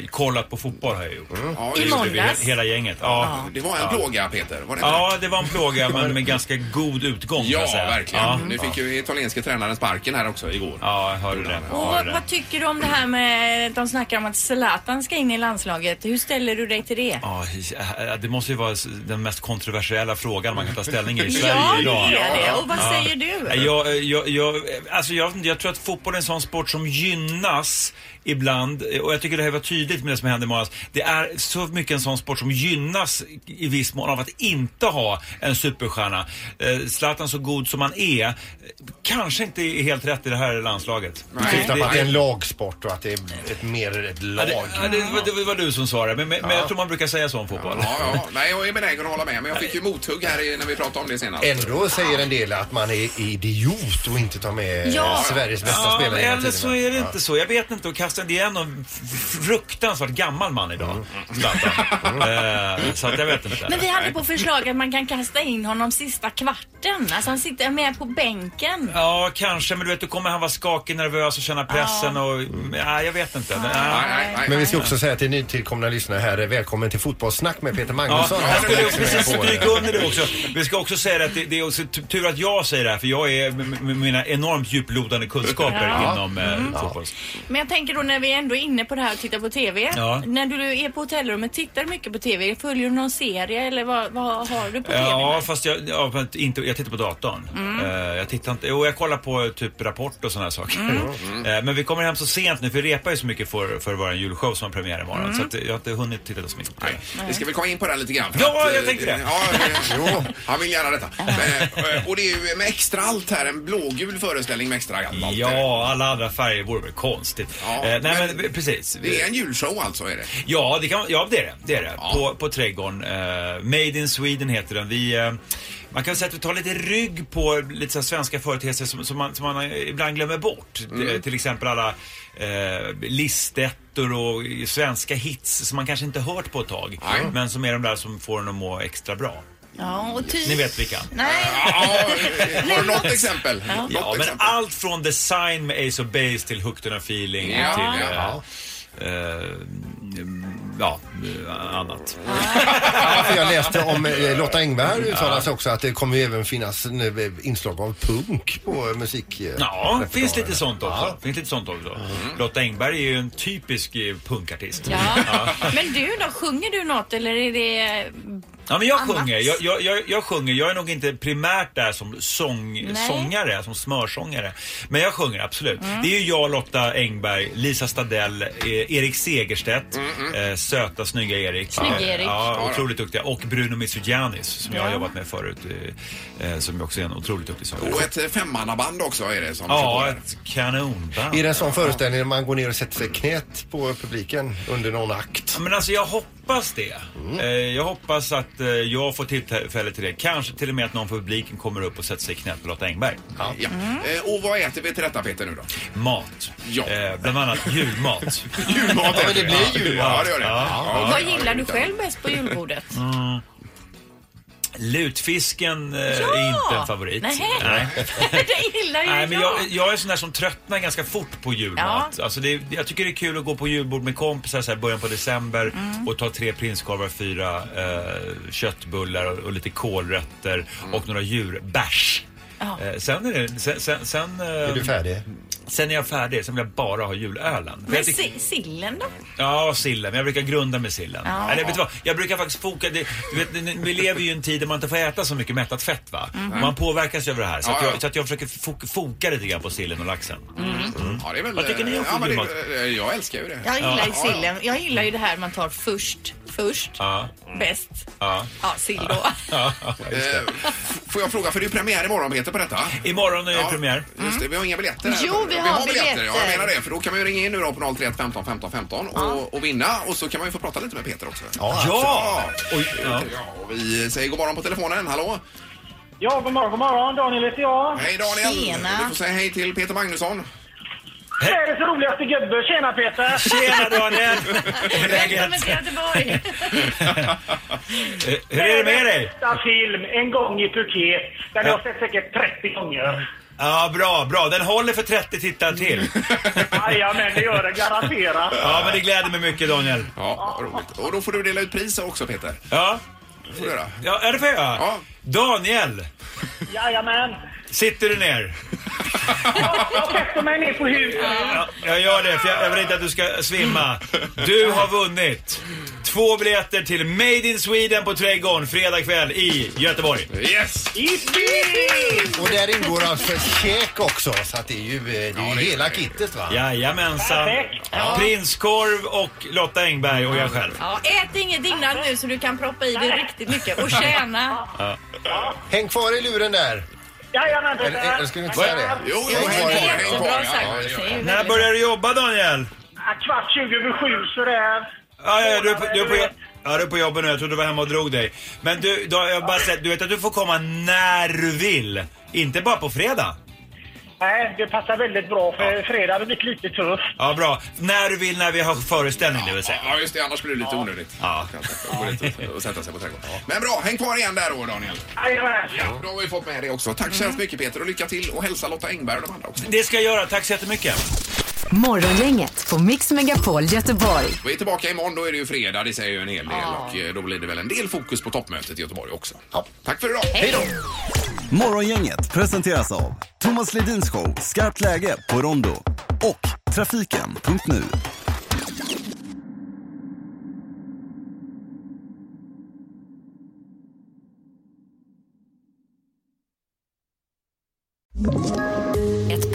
[SPEAKER 7] Eh, kollat på fotboll har jag gjort.
[SPEAKER 2] Ja,
[SPEAKER 7] Det
[SPEAKER 2] I
[SPEAKER 7] gjorde vi,
[SPEAKER 2] måndags?
[SPEAKER 7] he- Hela gänget. Ja.
[SPEAKER 2] Det var en plåga, Peter. Var det inte
[SPEAKER 7] Ja, det var en plåga men med ganska god utgång. kan
[SPEAKER 2] Ja,
[SPEAKER 7] jag säga.
[SPEAKER 2] verkligen.
[SPEAKER 7] Ja.
[SPEAKER 2] Nu fick
[SPEAKER 7] Ja.
[SPEAKER 2] ju italienske tränaren sparken här också igår.
[SPEAKER 7] Ja, jag hörde det.
[SPEAKER 3] Och vad tycker du om det här med att de snackar om att Zlatan ska in i landslaget? Hur ställer du dig till det?
[SPEAKER 7] Ja, eh, det måste ju vara s- den mest kontroversiella frågan man kan ta ställning i i
[SPEAKER 3] Ja,
[SPEAKER 7] Sverige
[SPEAKER 3] det är
[SPEAKER 7] idag.
[SPEAKER 3] det. Och vad säger du?
[SPEAKER 7] Eh, Jag, eh, jag, jag, eh, alltså jag, vet inte, jag tror att fotboll är en sån sport som gynnas ibland, eh, och jag tycker det här var tydligt med det som hände i måndags. Det är så mycket en sån sport som gynnas i viss mån av att inte ha en superstjärna. Eh, Zlatan så god som han är, eh, kanske inte är helt rätt i det här landslaget.
[SPEAKER 4] Du syftar på att det är en lagsport och att det är ett, mer ett
[SPEAKER 7] Ja,
[SPEAKER 4] lag.
[SPEAKER 7] det, ja, det, var- det var du som sa det, men, men, men jag tror man brukar säga så om fotboll.
[SPEAKER 2] Ja, ja. Nej, jag är benägen att hålla med, men jag fick ju mothugg här i- när vi pratade om det senast.
[SPEAKER 4] Ändå säger en del att man är idiot och inte tar med
[SPEAKER 2] Ja.
[SPEAKER 4] Sveriges bästa
[SPEAKER 7] Ja,
[SPEAKER 4] spelare hela
[SPEAKER 7] Eller
[SPEAKER 4] tiden.
[SPEAKER 7] så är det
[SPEAKER 4] Ja.
[SPEAKER 7] inte så. Jag vet inte. Och Kasten, det är ändå en f- fruktansvärt gammal man
[SPEAKER 4] Mm.
[SPEAKER 7] idag. Zlatan. Eh, Så att jag vet inte.
[SPEAKER 3] Men vi hade på förslag att man kan kasta in honom sista kvarten. Alltså han sitter med på bänken.
[SPEAKER 7] Ja, kanske. Men du vet, då kommer han vara skakig, nervös och känna pressen och... Nej, jag vet inte. Men, nej.
[SPEAKER 4] Men vi ska också säga till nytillkomna lyssnare här, eh, välkommen till fotbollssnack med Peter Magnusson.
[SPEAKER 7] Ja,
[SPEAKER 4] Här
[SPEAKER 7] jag
[SPEAKER 4] ska vi
[SPEAKER 7] skulle
[SPEAKER 4] också
[SPEAKER 7] precis
[SPEAKER 4] med på, eh,
[SPEAKER 7] stryka under det också. Vi ska också säga det att det, det är också t- tur att jag säger det här för jag är med med mina enormt djuplodande kunskaper
[SPEAKER 3] Ja.
[SPEAKER 7] inom eh, fotboll.
[SPEAKER 3] Men jag tänker då när vi ändå är inne på det här och tittar på TV.
[SPEAKER 7] Ja.
[SPEAKER 3] När du är på hotellrummet, tittar du mycket på TV? Följer du någon serie eller vad, vad har du på TV?
[SPEAKER 7] Ja, fast jag, ja, men inte, jag tittar på datorn.
[SPEAKER 3] Mm.
[SPEAKER 7] Eh, jag tittar inte, och jag kollar på eh, typ Rapport och sådana här saker. Eh, men vi kommer hem så sent nu, för vi repar ju så mycket för, för vår julshow som har premiär imorgon.
[SPEAKER 2] Mm.
[SPEAKER 7] Så att jag har inte hunnit titta så mycket på det.
[SPEAKER 2] Vi ska väl komma in på den lite grann. för
[SPEAKER 7] Ja,
[SPEAKER 2] eh,
[SPEAKER 7] jag tänkte det.
[SPEAKER 2] Ja, eh, jo, han vill gärna detta. Men, eh, och det är ju med extra allt här, en blågul föreställning med extra allt.
[SPEAKER 7] Ja, alla andra färger vore väl konstigt. Eh, nej, men, precis.
[SPEAKER 2] Det är en julshow alltså, är det?
[SPEAKER 7] Ja, det, kan, man- ja, det är det. det, är det. På, på Trädgården. Eh, Made in Sweden heter den. Vi, eh, man kan säga att vi tar lite rygg på lite så här svenska företeelser som, som, man, som man eh, ibland glömmer bort.
[SPEAKER 2] Mm.
[SPEAKER 7] Det- till exempel alla eh, listettor och svenska hits som man kanske inte hört på ett tag. Men som är de där som får en att må extra bra.
[SPEAKER 3] Ja, och ty...
[SPEAKER 7] Ni vet vilka?
[SPEAKER 3] Nej.
[SPEAKER 2] Har du något exempel?
[SPEAKER 7] Ja,
[SPEAKER 2] Något
[SPEAKER 7] men
[SPEAKER 2] exempel?
[SPEAKER 7] allt från design med Ace of Base till Hooked on a feeling
[SPEAKER 2] Ja.
[SPEAKER 7] till... eh,
[SPEAKER 2] Ja.
[SPEAKER 7] eh, ja, eh, annat.
[SPEAKER 4] Ja, för jag läste om eh, Lotta Engberg uttalar sig också att det kommer ju även finnas nu, eh, inslag av punk på eh, musik. eh,
[SPEAKER 7] Ja,
[SPEAKER 4] repertoaren.
[SPEAKER 7] finns lite sånt också.
[SPEAKER 4] Ja.
[SPEAKER 7] Finns lite sånt också. Lotta Engberg är ju en typisk eh, punkartist.
[SPEAKER 3] Men du då, sjunger du något eller är det
[SPEAKER 7] Ja, men jag
[SPEAKER 14] annat.
[SPEAKER 7] sjunger. Jag, jag, jag, jag sjunger. Jag är nog inte primärt där som sång,
[SPEAKER 14] Nej.
[SPEAKER 7] sångare, som smörsångare. Men jag sjunger absolut.
[SPEAKER 14] Mm.
[SPEAKER 7] Det är ju jag, Lotta Engberg, Lisa Stadell, eh, Erik Segerstedt, eh, söta, snygga Erik.
[SPEAKER 14] Snygg
[SPEAKER 7] Eh,
[SPEAKER 14] Erik.
[SPEAKER 7] Ja,
[SPEAKER 14] Ja,
[SPEAKER 7] otroligt duktiga. Och Bruno Mitsugianis som jag har
[SPEAKER 2] Ja.
[SPEAKER 7] jobbat med förut, eh, eh, som också är en otroligt duktig sångare.
[SPEAKER 2] Och ett eh, femmannaband också är det som
[SPEAKER 7] Ja, ett kanonband.
[SPEAKER 4] Är det en sån föreställning där man går ner och sätter sig i knät på publiken under någon akt?
[SPEAKER 7] Men alltså jag hoppas det. Eh, Jag hoppas att eh, jag får tillfälle till det. Kanske till och med att någon från publiken kommer upp och sätter sig i knät på Lotta Engberg.
[SPEAKER 2] Ja.
[SPEAKER 7] Mm.
[SPEAKER 2] Eh, Och vad äter vi till detta Peter nu då?
[SPEAKER 7] Mat. Eh, bland annat julmat.
[SPEAKER 2] Julmat
[SPEAKER 7] Ja, men det
[SPEAKER 2] äter vi.
[SPEAKER 7] blir
[SPEAKER 2] Ja,
[SPEAKER 7] julmat.
[SPEAKER 2] Ja, det gör det.
[SPEAKER 7] Ja.
[SPEAKER 2] Ja,
[SPEAKER 3] Vad
[SPEAKER 2] ja,
[SPEAKER 3] gillar du
[SPEAKER 2] utan-
[SPEAKER 3] själv bäst på julbordet?
[SPEAKER 7] Mm. Lutfisken eh, är inte en favorit.
[SPEAKER 3] Nähä.
[SPEAKER 7] Nej.
[SPEAKER 3] det gillar ju
[SPEAKER 7] Nej, men jag,
[SPEAKER 3] jag.
[SPEAKER 7] jag är sån där som tröttnar ganska fort på julmat. Alltså det, jag tycker det är kul att gå på julbord med kompisar så här i början på december
[SPEAKER 3] Mm.
[SPEAKER 7] och ta tre prinskorvar, fyra eh, köttbullar och, och lite kålrötter
[SPEAKER 3] Mm.
[SPEAKER 7] och några djurbärs.
[SPEAKER 1] Ja.
[SPEAKER 7] Eh, sen är det... Sen, sen, sen, är
[SPEAKER 4] du färdig?
[SPEAKER 7] Sen är jag färdig. Sen vill jag bara ha julölen. För
[SPEAKER 3] Men
[SPEAKER 7] jag tycker-
[SPEAKER 3] si- sillen då?
[SPEAKER 7] Ja, sillen. Men jag brukar grunda med sillen.
[SPEAKER 3] Ja.
[SPEAKER 7] Eller, vet du vad? Jag brukar faktiskt foka... Det, du vet, vi lever ju i en tid där man inte får äta så mycket mättat fett. va?
[SPEAKER 2] Mm.
[SPEAKER 7] Och Man påverkas ju över det här. Så,
[SPEAKER 2] Ja,
[SPEAKER 7] att
[SPEAKER 2] ja.
[SPEAKER 7] jag, så att jag försöker fok- foka lite grann på sillen och laxen. Mm.
[SPEAKER 2] Ja, det är väl,
[SPEAKER 7] Vad tycker ni om
[SPEAKER 2] ja, men
[SPEAKER 7] julmat?
[SPEAKER 2] det, eh, Jag älskar ju det.
[SPEAKER 3] Jag gillar ju
[SPEAKER 2] Ja, ja.
[SPEAKER 3] sillen. Jag gillar ju det här man tar först, först,
[SPEAKER 7] Ja.
[SPEAKER 3] bäst.
[SPEAKER 7] Ja.
[SPEAKER 3] Ja, sill då.
[SPEAKER 7] Ja,
[SPEAKER 2] just det. Eh, F- Får jag fråga, för det är ju premiär imorgon Peter på detta.
[SPEAKER 7] Imorgon är det premiär. Mm.
[SPEAKER 2] Just det, vi har inga biljetter. här.
[SPEAKER 3] Jo, vi har biljetter.
[SPEAKER 2] Ja, jag menar det. För då kan man ju ringa in nu då på 031 15 15 15 och, och vinna. Och så kan man ju få prata lite med Peter också. Alltså,
[SPEAKER 4] Ja!
[SPEAKER 2] ja. och vi säger god morgon på telefonen. Hallå?
[SPEAKER 15] Ja, god morgon, god morgon. Daniel heter jag.
[SPEAKER 2] Hej Daniel! Du får säga hej till Peter Magnusson.
[SPEAKER 15] Det är det så roligaste gubbe. Tjena Peter!
[SPEAKER 7] Tjena Daniel!
[SPEAKER 15] Välkommen till Göteborg!
[SPEAKER 7] Eh, Hur är det med dig?
[SPEAKER 15] Bästa film, En gång i Turkiet. Den har jag sett säkert 30 gånger.
[SPEAKER 7] Ja, bra, bra. Den håller för 30 tittare
[SPEAKER 6] Mm.
[SPEAKER 7] till.
[SPEAKER 15] Jajamän, det gör den garanterat.
[SPEAKER 7] Ja, men det gläder mig mycket Daniel.
[SPEAKER 2] Ja, vad roligt. Och då får du dela ut priser också Peter.
[SPEAKER 7] Ja.
[SPEAKER 2] Får du göra.
[SPEAKER 7] Ja, är det för jag?
[SPEAKER 2] Ja.
[SPEAKER 7] Daniel,
[SPEAKER 15] Jajamän.
[SPEAKER 7] sitter du ner?
[SPEAKER 15] Jag sätter mig ner på huvudet.
[SPEAKER 7] Ja, jag gör det, för jag, jag vill inte att du ska svimma. Du har vunnit två biljetter till Made in Sweden på Trädgården fredag kväll i Göteborg.
[SPEAKER 2] Yes!
[SPEAKER 4] Och där ingår alltså ett käk också så att det är ju, eh, det är ju hela kittet va?
[SPEAKER 7] Jajamensan.
[SPEAKER 4] Perfekt.
[SPEAKER 3] Ja.
[SPEAKER 7] Prinskorv och Lotta Engberg och jag själv.
[SPEAKER 3] Ja, ät inget innan nu så du kan proppa i dig riktigt mycket och tjäna.
[SPEAKER 7] Ja.
[SPEAKER 4] Häng kvar i luren där.
[SPEAKER 15] Jajamän
[SPEAKER 4] Eller,
[SPEAKER 15] Peter.
[SPEAKER 4] eller ska vi inte säga det?
[SPEAKER 2] Jo,
[SPEAKER 15] jo,
[SPEAKER 4] häng kvar i
[SPEAKER 15] det är
[SPEAKER 4] luren.
[SPEAKER 15] jättebra
[SPEAKER 4] Ja, ja,
[SPEAKER 15] sagt.
[SPEAKER 4] ja, ja.
[SPEAKER 15] Det är ju
[SPEAKER 7] När börjar du jobba Daniel?
[SPEAKER 15] Ja, Kvart 20 över sju sådär.
[SPEAKER 7] Ja, ja, du, är på- du, är på, ja, du är på jobbet nu. Jag trodde du var hemma och drog dig. Men du, då, har jag bara sett, du vet att du får komma när du vill. Inte bara på fredag.
[SPEAKER 15] Nej, det passar väldigt bra för fredag har blivit lite tuff.
[SPEAKER 7] Ja, bra. När du vill, när vi har föreställning, det vill säga.
[SPEAKER 2] Ja, just det. Annars blir det lite onödigt.
[SPEAKER 7] Ja.
[SPEAKER 2] Gå dit och sätta sig på trädgården. Men bra, häng kvar igen där då Daniel.
[SPEAKER 15] Jajamän.
[SPEAKER 2] Ja, Mm. då har vi fått med det också. Tack så hemskt mycket Peter och lycka till och hälsa Lotta Engberg och de andra också.
[SPEAKER 7] Det ska jag göra. Tack så jättemycket.
[SPEAKER 5] Morgongänget på Mix Megapol Göteborg.
[SPEAKER 2] Vi är tillbaka imorgon, då är det ju fredag, det säger ju en hel del och eh, då blir det väl en del fokus på toppmötet i Göteborg också. Tack för idag! Hej då!
[SPEAKER 16] Morgongänget presenteras av Thomas Ledins show Skarpt läge på Rondo och Trafiken.nu.
[SPEAKER 17] Ett